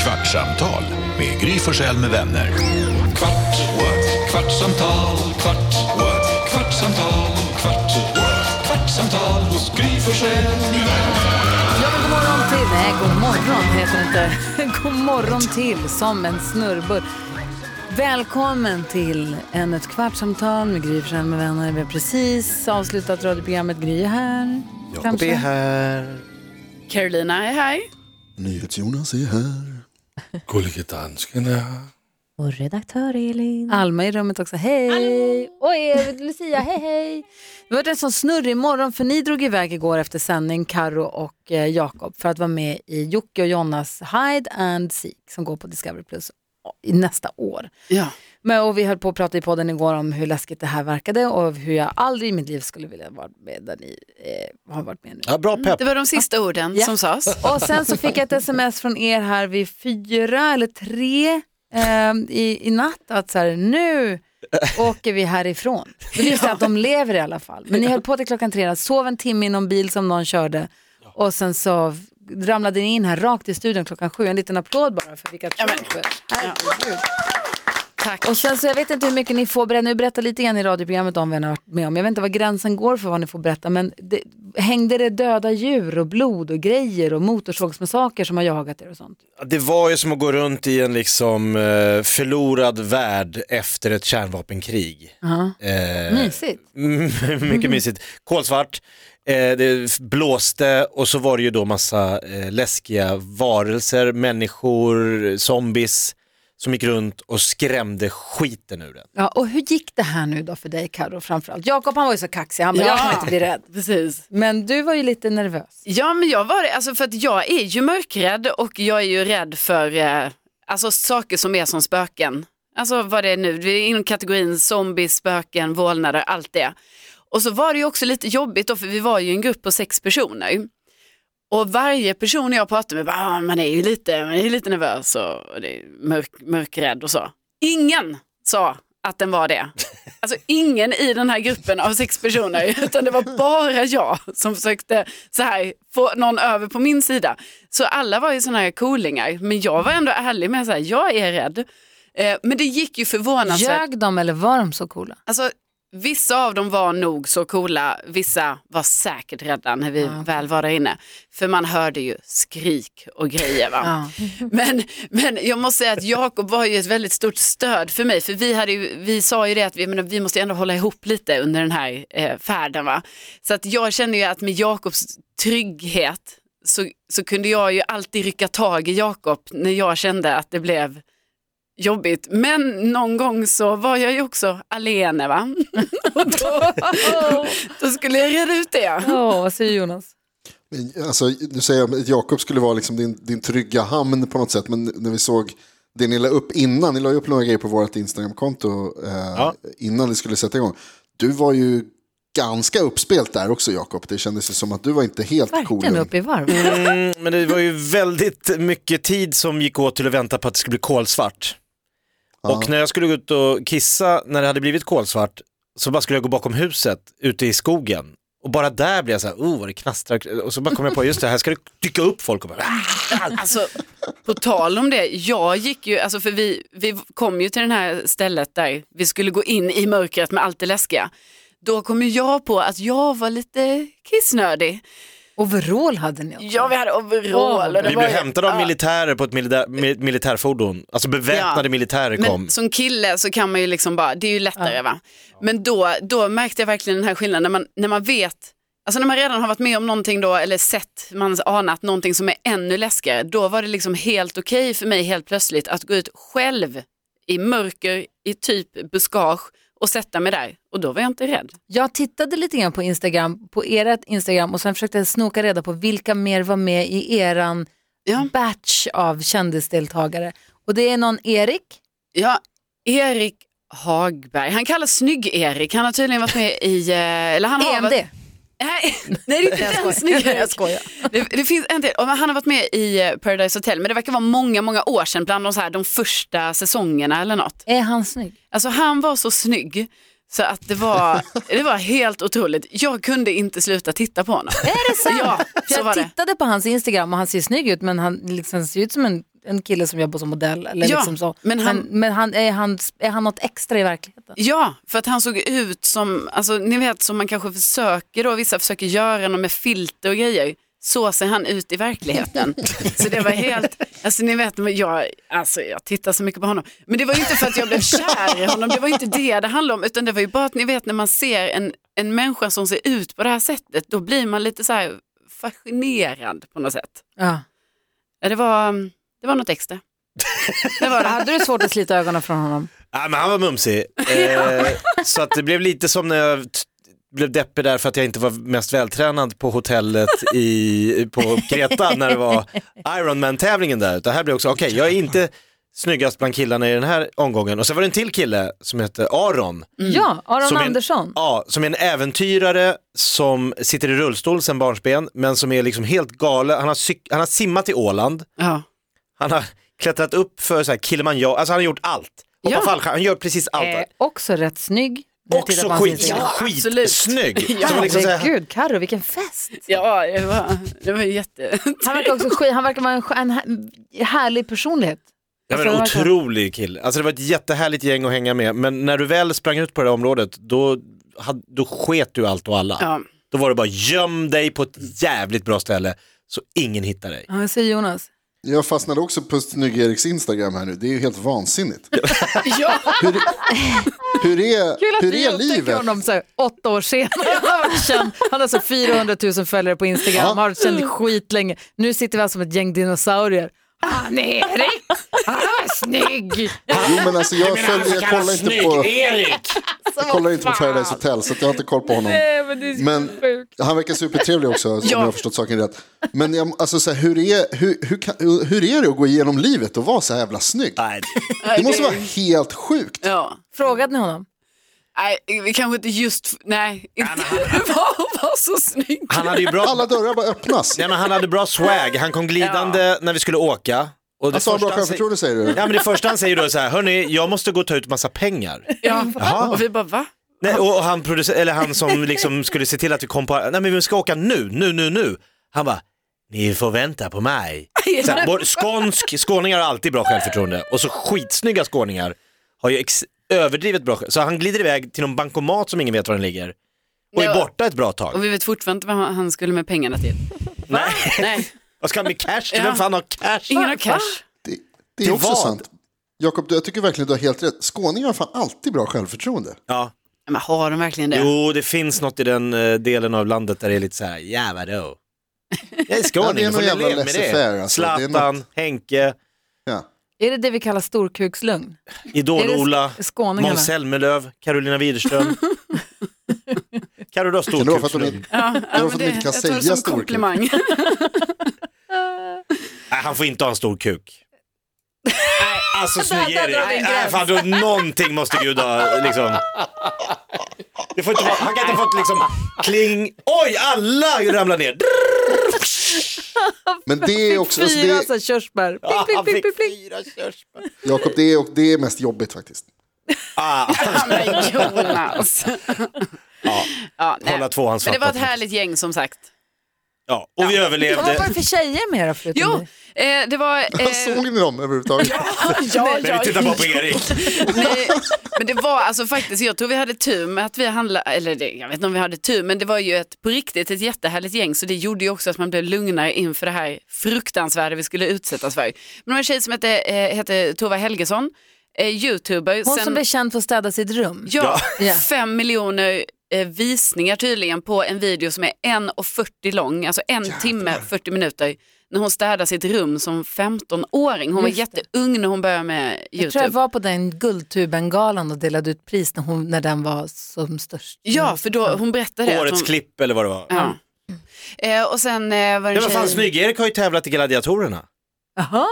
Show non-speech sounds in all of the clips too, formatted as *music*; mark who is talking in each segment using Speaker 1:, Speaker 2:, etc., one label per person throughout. Speaker 1: Kvartsamtal med Gry Forssell med vänner. Kvart, what? kvartsamtal, kvart, what? kvartsamtal, kvart, what? kvartsamtal hos Gry Forssell med vänner.
Speaker 2: Ja, men god morgon till... Nej, god morgon heter det inte. *laughs* God morgon till, som en snurrbur. Välkommen till än ett kvartsamtal med Gry Forssell med vänner. Vi har precis avslutat radioprogrammet. Gry är här. kanske.
Speaker 3: här.
Speaker 4: Carolina är här.
Speaker 5: NyhetsJonas är här.
Speaker 6: Gullige dansken är här.
Speaker 7: Och redaktör Elin.
Speaker 2: Alma i rummet också. Hej! Och er, Lucia, hej hej! Det var en sån snurrig morgon för ni drog iväg igår efter sändning, Karo och eh, Jakob, för att vara med i Jocke och Jonas Hide and Seek som går på Discovery Plus i nästa år.
Speaker 4: Ja.
Speaker 2: Men, och vi höll på att prata i podden igår om hur läskigt det här verkade och hur jag aldrig i mitt liv skulle vilja vara med där ni eh, har varit med nu.
Speaker 3: Ja, bra pepp.
Speaker 4: Det var de sista orden som sades.
Speaker 2: Och sen så fick jag ett sms från er här vid fyra eller tre eh, i, i natt att så här, nu åker vi härifrån. Det visste att de lever i alla fall. Men ni höll på till klockan tre, sov en timme i någon bil som någon körde och sen så ramlade ni in här rakt i studion klockan sju. En liten applåd bara för vilka
Speaker 4: men-
Speaker 2: tröskel. Herregud.
Speaker 4: Tack.
Speaker 2: Och sen så jag vet inte hur mycket ni får berätta, nu berätta lite grann i radioprogrammet om vad ni har varit med om. Jag vet inte vad gränsen går för vad ni får berätta men det, hängde det döda djur och blod och grejer och motorsågsmassaker som har jagat er och sånt?
Speaker 3: Det var ju som att gå runt i en liksom eh, förlorad värld efter ett kärnvapenkrig.
Speaker 2: Ja.
Speaker 3: Eh,
Speaker 2: Mysigt.
Speaker 3: Mm, *laughs* mycket mysigt. Kolsvart, eh, det f- blåste och så var det ju då massa eh, läskiga varelser, människor, zombies som gick runt och skrämde skiten ur den.
Speaker 2: Ja, och hur gick det här nu då för dig Karo framförallt? Jakob han var ju så kaxig, han bara, jag kan inte bli rädd.
Speaker 4: Precis.
Speaker 2: Men du var ju lite nervös.
Speaker 4: Ja, men jag var det, alltså för att jag är ju mörkrädd och jag är ju rädd för eh, alltså, saker som är som spöken. Alltså vad det är nu, det är inom kategorin zombies, spöken, vålnader, allt det. Och så var det ju också lite jobbigt då, för vi var ju en grupp på sex personer. Och varje person jag pratade med, bara, "Ah, man är ju lite, man är ju lite nervös och det är mörk, mörkrädd och så. Ingen sa att den var det. Alltså ingen i den här gruppen av sex personer, *laughs* utan det var bara jag som försökte så här, få någon över på min sida. Så alla var ju sådana här coolingar, men jag var ändå ärlig med att jag är rädd. Eh, Men det gick ju förvånansvärt
Speaker 2: Ljög de eller var de så coola?
Speaker 4: Alltså, vissa av dem var nog så coola, vissa var säkert rädda när vi väl var där inne. För man hörde ju skrik och grejer. Va? Men, men jag måste säga att Jakob var ju ett väldigt stort stöd för mig. För vi, hade ju, vi sa ju det att vi, men vi måste ändå hålla ihop lite under den här eh, färden. Va? Så att jag känner ju att med Jakobs trygghet så, så kunde jag ju alltid rycka tag i Jakob när jag kände att det blev jobbigt. Men någon gång så var jag ju också alene va? Och då, då skulle jag reda ut det.
Speaker 2: Ja, vad säger Jonas?
Speaker 5: Men, Alltså, du säger att Jakob skulle vara liksom din, din trygga hamn på något sätt. Men när vi såg det ni la upp innan, ni la ju upp några grejer på vårt Instagramkonto eh, innan vi skulle sätta igång. Du var ju ganska uppspelt där också Jakob. Det kändes ju som att du var inte helt
Speaker 2: Verkligen
Speaker 5: cool.
Speaker 2: upp i varv.
Speaker 3: Mm, men det var ju väldigt mycket tid som gick åt till att vänta på att det skulle bli kolsvart. Och när jag skulle gå ut och kissa, när det hade blivit kolsvart, så bara skulle jag gå bakom huset ute i skogen. Och bara där blev jag så här, oh vad det knastrar. Och så bara kom jag på, just det, här ska det dyka upp folk och bara, "Ah!"
Speaker 4: Alltså, på tal om det, jag gick ju, alltså för vi, vi kom ju till det här stället där vi skulle gå in i mörkret med allt det läskiga. Då kom ju jag på att jag var lite kissnödig.
Speaker 2: Overall hade ni också.
Speaker 4: Ja, vi hade overall. och det
Speaker 3: Vi
Speaker 4: var
Speaker 3: blev
Speaker 4: ju-
Speaker 3: hämtade av
Speaker 4: Ja.
Speaker 3: militärer på ett militär, mi- militärfordon. Alltså beväpnade
Speaker 4: Ja.
Speaker 3: militärer kom.
Speaker 4: Men som kille så kan man ju liksom bara, det är ju lättare va. Men då, då märkte jag verkligen den här skillnaden när man, när man vet, alltså när man redan har varit med om någonting då eller sett, man anat någonting som är ännu läskigare, då var det liksom helt okej för mig helt plötsligt att gå ut själv i mörker, i typ buskage och sätta mig där. Och då var jag inte rädd.
Speaker 2: Jag tittade lite grann på Instagram, på ert Instagram och sen försökte jag snoka reda på vilka mer var med i eran
Speaker 4: Ja.
Speaker 2: batch av kändisdeltagare. Och det är någon Erik,
Speaker 4: Ja, Erik Hagberg, han kallas Snygg-Erik, han har tydligen varit med i, eh, eller han har varit
Speaker 2: EMD.
Speaker 4: Nej, *laughs* nej det är inte den
Speaker 2: *laughs*
Speaker 4: snygga.
Speaker 2: Jag skojar.
Speaker 4: Det, det finns en del, och han har varit med i eh, Paradise Hotel men det verkar vara många, många år sedan bland de, så här, de första säsongerna eller något.
Speaker 2: Är han snygg?
Speaker 4: Alltså han var så snygg så att
Speaker 2: *laughs*
Speaker 4: det var, det var helt otroligt. Jag kunde inte sluta titta på honom.
Speaker 2: Är det sant?
Speaker 4: Ja,
Speaker 2: För
Speaker 4: så var
Speaker 2: jag
Speaker 4: det.
Speaker 2: tittade på hans Instagram och han ser snygg ut men han liksom ser ut som en en kille som jobbar som modell. Eller
Speaker 4: Ja,
Speaker 2: liksom så.
Speaker 4: men han-
Speaker 2: men, men han, är, han, är han något extra i verkligheten?
Speaker 4: Ja, för att han såg ut som, alltså, ni vet som man kanske försöker då, vissa försöker göra något med filter och grejer. Så ser han ut i *laughs* verkligheten. Så det var helt, alltså ni vet, men jag, alltså, jag tittar så mycket på honom. Men det var ju inte för att jag blev kär i honom, det var ju inte det det handlade om, utan det var ju bara att ni vet när man ser en, en människa som ser ut på det här sättet, då blir man lite så här fascinerad på något sätt.
Speaker 2: Ja.
Speaker 4: Ja, Det var, det var något extra. Det var *laughs* det.
Speaker 2: Hade du svårt att slita ögonen från honom?
Speaker 3: Nej, men han var mumsig. Eh, så att det blev lite som när jag t- blev deppig där för att jag inte var mest vältränad på hotellet i, på Kreta när det var Ironman-tävlingen där. Det här blev också, okej, jag är inte snyggast bland killarna i den här omgången. Och så var det en till kille som hette Aron.
Speaker 4: Mm.
Speaker 2: Ja, Aron
Speaker 3: Som en-
Speaker 2: Andersson.
Speaker 3: Ja, som är en äventyrare som sitter i rullstol sedan barnsben, men som är liksom helt galen. Han har, cyk- han har simmat i Åland,
Speaker 4: Ja.
Speaker 3: han har klättrat upp för så här Kilimanjaro, alltså han har gjort allt. Hoppa
Speaker 4: Ja.
Speaker 3: fallskärm, han gör precis allt.
Speaker 2: Eh, också rätt snygg. när jag tittar
Speaker 3: Också
Speaker 2: på hans
Speaker 3: skit,
Speaker 2: Instagram.
Speaker 3: ja,
Speaker 4: absolut.
Speaker 3: skitsnygg.
Speaker 4: Ja,
Speaker 3: Som liksom så här-
Speaker 2: Herregud, Carro vilken fest.
Speaker 4: Ja, det var, det var ju jätte...
Speaker 2: Han verkar
Speaker 5: Typ.
Speaker 2: också skit, han verkar vara en, skö- en här- härlig personlighet.
Speaker 3: Ja, men
Speaker 2: Alltså, det verkar-
Speaker 3: otrolig kille. Alltså det var ett jättehärligt gäng att hänga med, men när du väl sprang ut på det här området, då, hade- då sket du allt och alla.
Speaker 4: Ja.
Speaker 3: Då var det bara göm dig på ett jävligt bra ställe så ingen hittar dig.
Speaker 2: Ja, vad säger Jonas.
Speaker 5: Jag fastnade också på Snygg-Eriks Instagram här nu. Det är ju helt vansinnigt.
Speaker 4: Ja,
Speaker 5: *laughs* Hur,
Speaker 2: *laughs*
Speaker 5: hur är, hur är livet?
Speaker 2: honom så här, åtta år senare. Han har varit känd- Han har så 400 000 följare på Instagram, Han har varit känd skitlänge. Nu sitter vi här som ett gäng dinosaurier. Han är Erik, han är snygg.
Speaker 5: Jo, men alltså jag, följer, jag kollar inte på...
Speaker 3: Erik!
Speaker 5: Jag kollar inte på Paradise Hotel så att jag har inte koll på honom. Men han verkar supertrevlig
Speaker 4: *laughs*
Speaker 5: också om jag har förstått saken rätt. Men jag, alltså, så här, hur, är, hur, hur, kan, hur är det att gå igenom livet och vara så här jävla snygg?
Speaker 3: Nej,
Speaker 5: Det måste vara helt sjukt.
Speaker 4: ja.
Speaker 2: Frågade ni honom?
Speaker 4: Nej, vi kanske inte just, nej, inte *laughs* var, var så snygg.
Speaker 3: han hade ju bra,
Speaker 5: Alla dörrar bara öppnas.
Speaker 3: nej, men han hade bra swag, han kom glidande när vi skulle åka. Och det
Speaker 5: Alltså har bra
Speaker 3: första han säger-
Speaker 5: självförtroende säger du.
Speaker 3: Ja, men det första han säger då är så här, hörni, jag måste gå och ta ut massa pengar.
Speaker 4: Ja. Och vi bara, va?
Speaker 3: Nej, och och han, producer- eller han
Speaker 4: *laughs*
Speaker 3: som liksom skulle se till att vi kom på, nej men vi ska åka nu, nu, nu, nu. Han bara, ni får vänta på
Speaker 4: *laughs*
Speaker 3: mig. Så här, både skånsk, skåningar har alltid bra självförtroende och så skitsnygga skåningar har ju ex- överdrivet bra själv- Så han glider iväg till någon bankomat som ingen vet var den ligger och är
Speaker 4: Ja.
Speaker 3: borta ett bra tag.
Speaker 4: Och vi vet fortfarande inte vad han han skulle med pengarna till.
Speaker 3: Nej,
Speaker 4: Nej,
Speaker 3: *laughs* vad ska han med cash till? Vem fan har cash?
Speaker 4: ingen har cash.
Speaker 5: Det, det är också
Speaker 3: vad?
Speaker 5: sant. Jakob, du- jag tycker verkligen du har helt rätt. Skåningar har fan alltid bra självförtroende.
Speaker 3: Ja.
Speaker 4: Men har de verkligen det?
Speaker 3: Jo, det finns något i den eh, delen av landet där det är lite så här, ja
Speaker 4: *laughs*
Speaker 3: vadå? Jag är
Speaker 5: Ja, det
Speaker 3: skåning,
Speaker 5: är
Speaker 3: då får
Speaker 5: någon
Speaker 3: ni
Speaker 5: jävla
Speaker 3: leva med
Speaker 5: laissez-faire,
Speaker 3: det.
Speaker 5: alltså. Det är något-
Speaker 3: Zlatan, Henke,
Speaker 5: Ja.
Speaker 2: Är det det vi kallar storkukslugn? Är det
Speaker 3: Idol-Ola.
Speaker 2: sk- skåningarna?
Speaker 3: Måns Zelmerlöw,
Speaker 2: *laughs*
Speaker 3: Carolina Widerström. Carro, du har
Speaker 5: Kan det vara för att de
Speaker 3: storkukslugg.
Speaker 5: inte-
Speaker 4: Ja,
Speaker 5: för
Speaker 4: men
Speaker 5: att de
Speaker 4: det-
Speaker 5: inte kan
Speaker 4: jag tar det som
Speaker 5: säga stor kuk.
Speaker 3: *laughs*
Speaker 4: komplimang.
Speaker 3: Nej, han får inte ha en stor kuk. Nej,
Speaker 2: *laughs*
Speaker 3: alltså
Speaker 2: Där-
Speaker 3: snygg
Speaker 2: där drar vi en
Speaker 3: Nej,
Speaker 2: gräns.
Speaker 3: fan, då, någonting måste Gud ha liksom. Det får inte vara, han kan inte ha fått liksom kling, oj alla ramlar ner.
Speaker 5: Men det
Speaker 4: *laughs*
Speaker 5: är också... Alltså
Speaker 2: Fyra
Speaker 5: det,
Speaker 2: så här körsbär. Pling,
Speaker 3: Ah,
Speaker 2: pling,
Speaker 3: Han
Speaker 2: pling,
Speaker 3: fick
Speaker 2: pling, pling.
Speaker 3: fyra körsbär.
Speaker 5: Jakob, det är, det är mest jobbigt faktiskt.
Speaker 3: Ah, *laughs*
Speaker 4: Ja, men Jonas.
Speaker 3: ja,
Speaker 4: Ja, nej.
Speaker 3: kolla tvåan
Speaker 4: Men det var ett
Speaker 3: svarta.
Speaker 4: härligt gäng som sagt.
Speaker 3: ja, och vi
Speaker 2: Och Vad var det
Speaker 3: överlevde.
Speaker 2: för tjejer med då? förutom
Speaker 4: Jo,
Speaker 3: Mm.
Speaker 2: dig?
Speaker 4: eh, det var... eh,
Speaker 5: *laughs*
Speaker 3: *laughs*
Speaker 5: Såg ni dem överhuvudtaget?
Speaker 4: ja,
Speaker 3: Men vi tittar bara på Erik.
Speaker 4: Nej, men det var alltså faktiskt, jag tror vi hade tur med att vi handlade, eller det, jag vet inte om vi hade tur, men det var ju ett, på riktigt ett jättehärligt gäng så det gjorde ju också att man blev lugnare inför det här fruktansvärda vi skulle utsättas för. Men det var en tjej som hette, eh, hette Tova Helgesson, eh, youtuber.
Speaker 2: Hon
Speaker 4: sen-
Speaker 2: som blev känd för att städa sitt rum.
Speaker 4: Ja,
Speaker 2: Ja.
Speaker 4: fem miljoner eh, visningar tydligen på en video som är 1.40 lång, alltså en timme 40 minuter, när hon städade sitt rum som 15-åring. Hon var
Speaker 2: Just det.
Speaker 4: jätteung när hon började med YouTube.
Speaker 2: Jag tror jag var på den Guldtuben-galan och delade ut pris när, hon, när den var som störst.
Speaker 4: Ja, för då, hon berättade att
Speaker 3: Årets
Speaker 4: hon,
Speaker 3: klipp eller vad det var.
Speaker 4: Ja. Eh, och sen eh, var Mm.
Speaker 3: Ja,
Speaker 4: det en
Speaker 3: men fan,
Speaker 4: tjej...
Speaker 3: Snygg-Erik har ju tävlat i Gladiatorerna.
Speaker 2: Aha,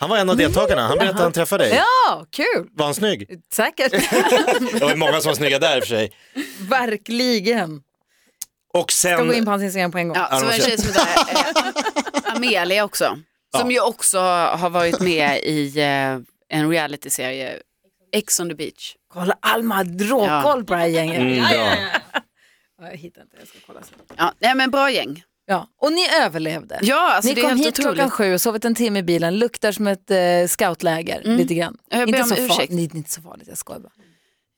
Speaker 3: Han var en av deltagarna, han berättade att han träffade dig.
Speaker 2: ja, kul.
Speaker 3: Var han snygg?
Speaker 2: Säkert.
Speaker 3: *laughs* Det var många som var snygga där i och för sig.
Speaker 2: *laughs* Verkligen.
Speaker 3: Och
Speaker 2: Jag går in
Speaker 3: sen,
Speaker 2: på hans Instagram på en gång.
Speaker 4: Ja, så var det en tjej som heter eh, Amelia också. Som ju också har varit med i eh, en realityserie, Ex on the beach.
Speaker 2: Kolla, Alma har råkoll på det här gänget.
Speaker 3: Mm, bra.
Speaker 2: Ja, Jag hittar inte, jag ska kolla sen.
Speaker 4: Ja, nej men bra gäng.
Speaker 2: Ja, och ni överlevde.
Speaker 4: Ja, alltså
Speaker 2: ni
Speaker 4: det är
Speaker 2: kom
Speaker 4: helt
Speaker 2: hit
Speaker 4: otroligt.
Speaker 2: klockan sju och sovit en timme i bilen, luktar som ett eh, scoutläger lite grann.
Speaker 4: Jag ber
Speaker 2: inte
Speaker 4: om
Speaker 2: så
Speaker 4: ursäkt.
Speaker 2: Nej, det är inte så farligt, jag skojar bara.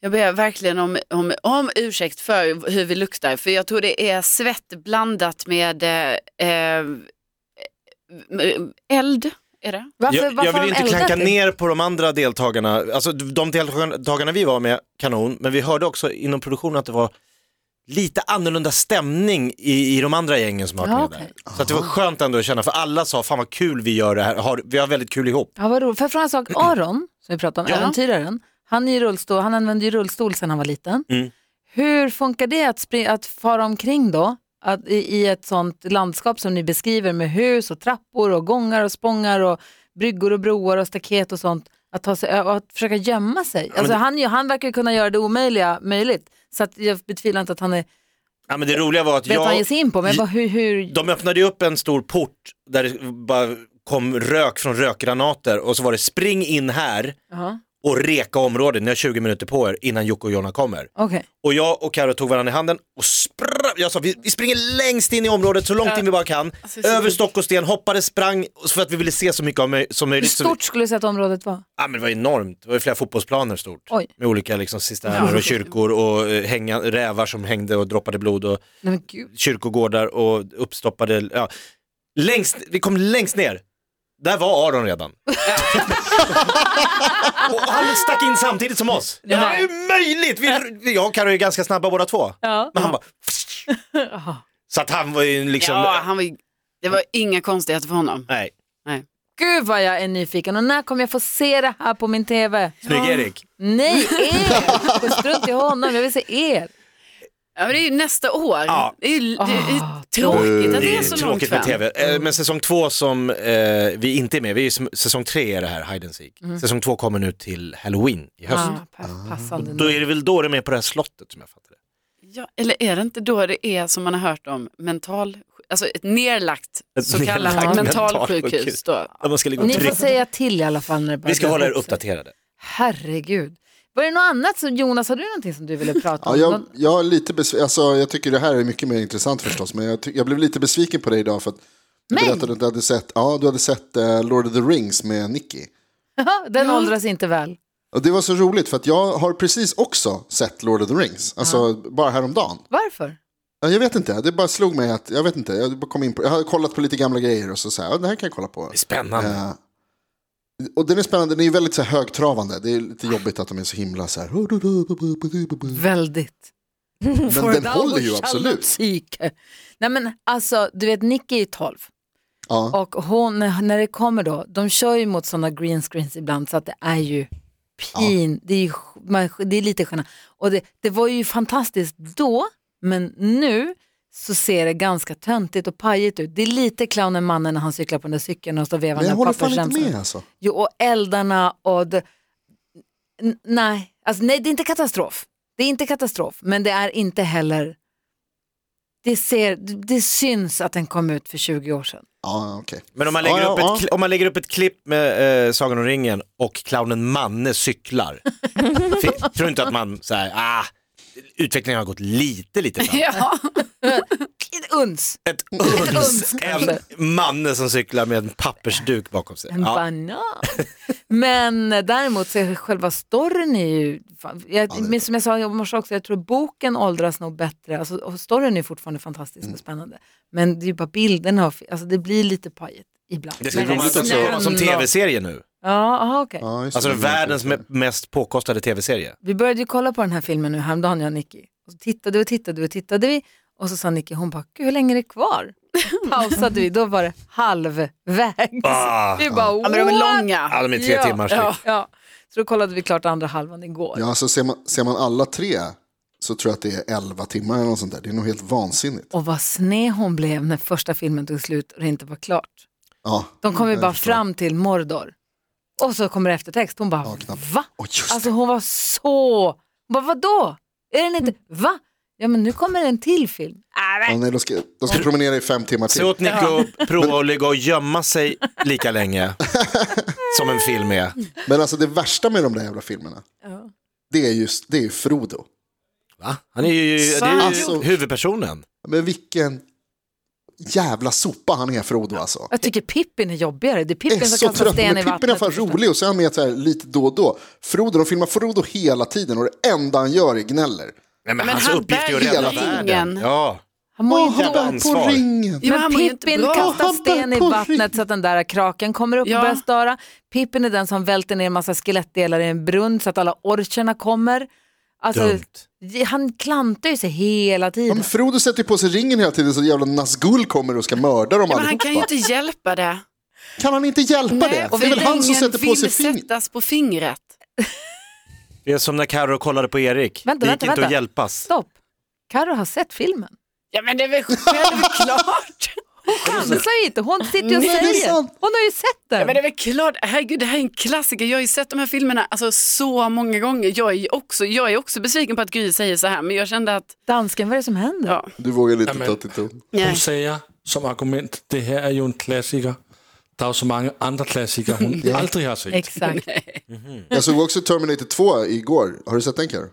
Speaker 4: Jag ber verkligen om, om, om ursäkt för hur vi luktar, för jag tror det är svett blandat med eh, eh, eld. Är det?
Speaker 2: Varför,
Speaker 3: Jag,
Speaker 2: varför
Speaker 3: jag
Speaker 2: har
Speaker 3: vill
Speaker 2: de
Speaker 3: inte
Speaker 2: eldat
Speaker 3: klanka
Speaker 2: det?
Speaker 3: ner på de andra deltagarna. Alltså de deltagarna vi var med, kanon, men vi hörde också inom produktionen att det var lite annorlunda stämning i, i de andra gängen som har varit
Speaker 2: Ja,
Speaker 3: med
Speaker 2: okej.
Speaker 3: där. Så att det var skönt ändå att känna, för alla sa fan vad kul vi gör det här, har, vi har väldigt kul ihop.
Speaker 2: Ja, vad roligt. Får jag fråga en sak? Aron, som vi pratade om,
Speaker 4: Ja.
Speaker 2: äventyraren, han, är i rullstol, han använde ju rullstol sedan han var liten.
Speaker 3: Mm.
Speaker 2: Hur funkar det att, spring, att fara omkring då? Att, i, I ett sånt landskap som ni beskriver med hus och trappor och gångar och spångar och bryggor och broar och staket och sånt. Att, ta sig, ö- och att försöka gömma sig. Alltså, han, ju- han verkar ju kunna göra det omöjliga möjligt. Så att jag betvivlar inte att han är, vet
Speaker 3: Ja, men det roliga var att
Speaker 2: vad han ger
Speaker 3: jag,
Speaker 2: sig in på. Men jag bara, hur, hur...
Speaker 3: de öppnade ju upp en stor port där det bara kom rök från rökgranater och så var det spring in här
Speaker 2: Ja,
Speaker 3: och reka området, ni har 20 minuter på er innan Jocke och Jonna kommer.
Speaker 2: Okej.
Speaker 3: Och jag och Karo tog varandra i handen och sprang, jag sa vi, vi springer längst in i området så långt in vi bara kan.
Speaker 4: Alltså, så-
Speaker 3: Över stock och sten, hoppade, sprang för att vi ville se så mycket av möj- som
Speaker 2: Hur
Speaker 3: möjligt. Så vi,
Speaker 2: stort skulle du säga att området var?
Speaker 3: ja, men det var enormt, det var ju flera fotbollsplaner stort.
Speaker 2: Oj.
Speaker 3: Med olika liksom, cisterner och kyrkor och eh, hänga, rävar som hängde och droppade blod och
Speaker 2: Nej, men gud.
Speaker 3: kyrkogårdar och uppstoppade, ja. längst, vi kom längst ner. Där var Aron
Speaker 4: *laughs*
Speaker 3: redan. och han stack in samtidigt som oss. Det är ju möjligt! Vi, jag och Karo är ganska snabba båda två.
Speaker 2: Ja.
Speaker 3: Men han bara... Så att han var ju liksom...
Speaker 4: Ja, han var, ju- det var inga konstigheter för honom.
Speaker 3: Nej,
Speaker 2: Gud vad jag är nyfiken och när kommer jag få se det här på min TV?
Speaker 3: snygg Erik.
Speaker 2: Nej, er! Strunt i honom, jag vill se er.
Speaker 4: Ja, men det är ju nästa år.
Speaker 3: Ja.
Speaker 4: Det är ju det är ju
Speaker 2: Ah,
Speaker 4: tråkigt att
Speaker 3: Det
Speaker 4: det
Speaker 3: är
Speaker 4: är så långt
Speaker 3: tråkigt med
Speaker 4: fram.
Speaker 3: tv. Eh, Men säsong två som eh, vi inte är med, vi är ju som- säsong tre är det här, Hide and Seek.
Speaker 4: Mm.
Speaker 3: Säsong två kommer nu till Halloween i höst.
Speaker 2: Ah, pa- passande.
Speaker 3: Då är det väl då det är med på det här slottet som jag fattar det.
Speaker 4: Ja, eller är det inte då det är som man har hört om mental, alltså ett nerlagt
Speaker 3: Ett
Speaker 4: så kallat
Speaker 3: nerlagt mentalsjukhus.
Speaker 4: mentalsjukhus då.
Speaker 3: Där man ska ligga
Speaker 2: Och
Speaker 3: och
Speaker 2: ni får
Speaker 3: trycka.
Speaker 2: säga till i alla fall när det börjar
Speaker 3: Vi ska hålla er
Speaker 2: dra ihop sig.
Speaker 3: uppdaterade.
Speaker 2: Herregud. Var det något annat som, Jonas, har du någonting som du ville prata
Speaker 5: Ja,
Speaker 2: om?
Speaker 5: jag,
Speaker 2: Någon-
Speaker 5: jag, är lite besv... alltså, jag tycker det här är mycket mer intressant förstås, men jag, ty- jag blev lite besviken på dig idag för att du
Speaker 2: Men-
Speaker 5: berättade att du hade sett, ja, du hade sett eh, Lord of the Rings med Nicky.
Speaker 2: *laughs* Den åldras inte väl.
Speaker 5: Och det var så roligt för att jag har precis också sett Lord of the Rings, alltså bara häromdagen.
Speaker 2: Varför?
Speaker 5: Ja, Jag vet inte, det bara slog mig att, jag vet inte, jag bara kom in på, jag hade kollat på lite gamla grejer och så så här, ja, det här kan jag kolla på.
Speaker 3: Det är spännande.
Speaker 5: Eh, och den är spännande, den är ju väldigt så här, högtravande, det är lite jobbigt att de är så himla så här.
Speaker 2: Väldigt.
Speaker 5: Men den håller ju absolut.
Speaker 2: Psyke. Nej men alltså, du vet Nicky är 12
Speaker 5: Ja.
Speaker 2: och hon, när det kommer då, de kör ju mot sådana green screens ibland så att det är ju pin, det, är ju, man, det är lite genant. Och det, det var ju fantastiskt då, men nu så ser det ganska töntigt och pajigt ut. Det är lite clownen mannen när han cyklar på den där cykeln och står och vevar
Speaker 5: Men jag
Speaker 2: den
Speaker 5: håller
Speaker 2: pappersremsan.
Speaker 5: fan inte med alltså.
Speaker 2: Jo, och eldarna och... Det, n- nej. Alltså, nej, det är inte katastrof. Det är inte katastrof, men det är inte heller... Det, ser, det syns att den kom ut för 20 år sedan.
Speaker 5: Ja, okej.
Speaker 3: Men om man, lägger
Speaker 5: Ja,
Speaker 3: upp
Speaker 5: ja,
Speaker 3: ett,
Speaker 5: ja.
Speaker 3: kli- om man lägger upp ett klipp med eh, Sagan om ringen och clownen Manne cyklar. Fi- tror inte att man så här, ah, utvecklingen har gått lite, lite fram.
Speaker 4: Ja.
Speaker 2: Ett uns,
Speaker 3: Ett uns,
Speaker 2: uns,
Speaker 3: en Manne som cyklar med en pappersduk bakom sig.
Speaker 2: en
Speaker 3: Ja, *laughs*
Speaker 2: banan. Men eh, däremot så är själva storyn är ju... fan, Jag, men som jag sa i morse också, jag tror boken åldras nog bättre. Alltså, och storyn är fortfarande fantastisk
Speaker 3: Mm.
Speaker 2: och spännande. Men det är ju bara bilderna, och- alltså, det blir lite pajigt ibland.
Speaker 3: det ska
Speaker 2: Men
Speaker 3: komma
Speaker 5: roligt
Speaker 3: som,
Speaker 2: snälla.
Speaker 3: som tv-serie nu.
Speaker 2: Ja, aha, okej.
Speaker 5: Ja, just det.
Speaker 3: Alltså världens me- mest påkostade tv-serie.
Speaker 2: Vi började ju kolla på den här filmen nu häromdagen jag och Nicky. Och så tittade och tittade och tittade vi. Och så sa Nicky, hon bara, "Gud, hur länge är det
Speaker 3: *laughs*
Speaker 2: kvar? Pausade vi, då var det halvvägs.
Speaker 3: Ah.
Speaker 2: Vi bara,
Speaker 4: ja, men de är
Speaker 2: "What?"
Speaker 3: Ja,
Speaker 4: långa.
Speaker 3: de är tre
Speaker 2: Ja.
Speaker 3: timmar typ. styck.
Speaker 4: Ja.
Speaker 2: Ja, så då kollade vi klart andra halvan igår.
Speaker 5: Ja, alltså ser man, ser man alla tre så tror jag att det är 11 timmar eller något sånt där. Det är nog helt vansinnigt.
Speaker 2: Och vad sned hon blev när första filmen tog slut och det inte var klart.
Speaker 5: Ja,
Speaker 2: De kom ju
Speaker 5: Mm, jag
Speaker 2: bara
Speaker 5: förstår.
Speaker 2: fram till Mordor. Och så kommer det eftertext. Hon bara,
Speaker 5: Ja, knappt.
Speaker 2: va?
Speaker 5: Och just
Speaker 2: Alltså hon var så... Hon bara, vadå? Är den inte...
Speaker 5: Mm.
Speaker 2: Va? Ja, men nu kommer en till film.
Speaker 5: det. Ja, nej, de, ska, de ska promenera i fem timmar
Speaker 3: Se
Speaker 5: till.
Speaker 3: åt Nico att prova att ligga och gömma sig lika länge som en film är.
Speaker 5: Men alltså det värsta med de där jävla filmerna, det är just det är ju Frodo.
Speaker 3: Va? Han är ju, det är ju
Speaker 5: Alltså-
Speaker 3: huvudpersonen.
Speaker 5: Men vilken jävla sopa han är Frodo alltså.
Speaker 2: Jag tycker Pippin är jobbigare. Det är
Speaker 5: Jag
Speaker 2: Pippin
Speaker 5: är
Speaker 2: som
Speaker 5: så
Speaker 2: kastar
Speaker 5: trött,
Speaker 2: sten i
Speaker 5: men Pippin är
Speaker 2: vattnet.
Speaker 5: fan rolig och så är han med så här lite då och då. Frodo, de filmar Frodo hela tiden och det enda han gör är gnäller.
Speaker 3: Nej, men,
Speaker 4: Men
Speaker 3: hans
Speaker 4: han
Speaker 3: uppgift är ju att
Speaker 4: bär
Speaker 3: rädda
Speaker 4: ju
Speaker 3: världen.
Speaker 4: ringen.
Speaker 3: Ja.
Speaker 2: Han mår ju
Speaker 5: Åh,
Speaker 2: inte
Speaker 3: jävla
Speaker 2: dåligt.
Speaker 5: han bär på
Speaker 3: ansvar.
Speaker 5: ringen.
Speaker 4: Jo, men
Speaker 2: Men
Speaker 4: han mår ju inte
Speaker 2: Pippin
Speaker 4: bra.
Speaker 2: kastar
Speaker 5: Han
Speaker 2: sten i
Speaker 5: bär på
Speaker 2: vattnet
Speaker 5: rygg.
Speaker 2: så att den där kraken kommer upp och
Speaker 4: Ja.
Speaker 2: börjar störa. Pippin är den som välter ner en massa skelettdelar i en brunn så att alla orcherna kommer. Alltså,
Speaker 3: Dumt.
Speaker 2: Han klantar ju sig hela
Speaker 5: Ja,
Speaker 2: tiden.
Speaker 5: men Frodo sätter ju på sig ringen hela tiden så jävla Nazgul kommer och ska mörda dem
Speaker 4: Ja, men han
Speaker 5: allihopa.
Speaker 4: kan ju inte hjälpa det.
Speaker 5: Kan han inte hjälpa det?
Speaker 4: och
Speaker 5: Det är väl han som sätter på sig
Speaker 4: vill
Speaker 5: fingret.
Speaker 4: sättas på fingret.
Speaker 3: Det är som när Carro kollade på Erik.
Speaker 2: Vänta,
Speaker 3: det gick
Speaker 2: vänta,
Speaker 3: inte att
Speaker 2: vänta.
Speaker 3: hjälpas.
Speaker 2: Stopp. Karo har sett filmen.
Speaker 4: Ja men det är väl *laughs* självklart.
Speaker 2: Chansar ju inte. Hon sitter ju och
Speaker 5: Nej, det är
Speaker 2: säger.
Speaker 5: sant.
Speaker 2: Hon har ju sett
Speaker 4: Ja, men det
Speaker 2: den.
Speaker 4: är väl klart, herregud det här är en klassiker. Jag har ju sett de här filmerna alltså, så många gånger. Jag är, ju också, jag är också besviken på att Gry säger så här men jag kände att,
Speaker 2: Dansken, vad är det som händer?
Speaker 4: ja.
Speaker 5: Du vågar lite
Speaker 6: Jamen.
Speaker 5: ta till ton.
Speaker 6: Hun
Speaker 4: Nej.
Speaker 6: sagde som argument, det her er jo en klassiker. Der er jo så mange andre klassikere, hun aldrig har set.
Speaker 2: Exakt.
Speaker 5: Jag såg också Terminator 2 igår. Har du sett den Carro?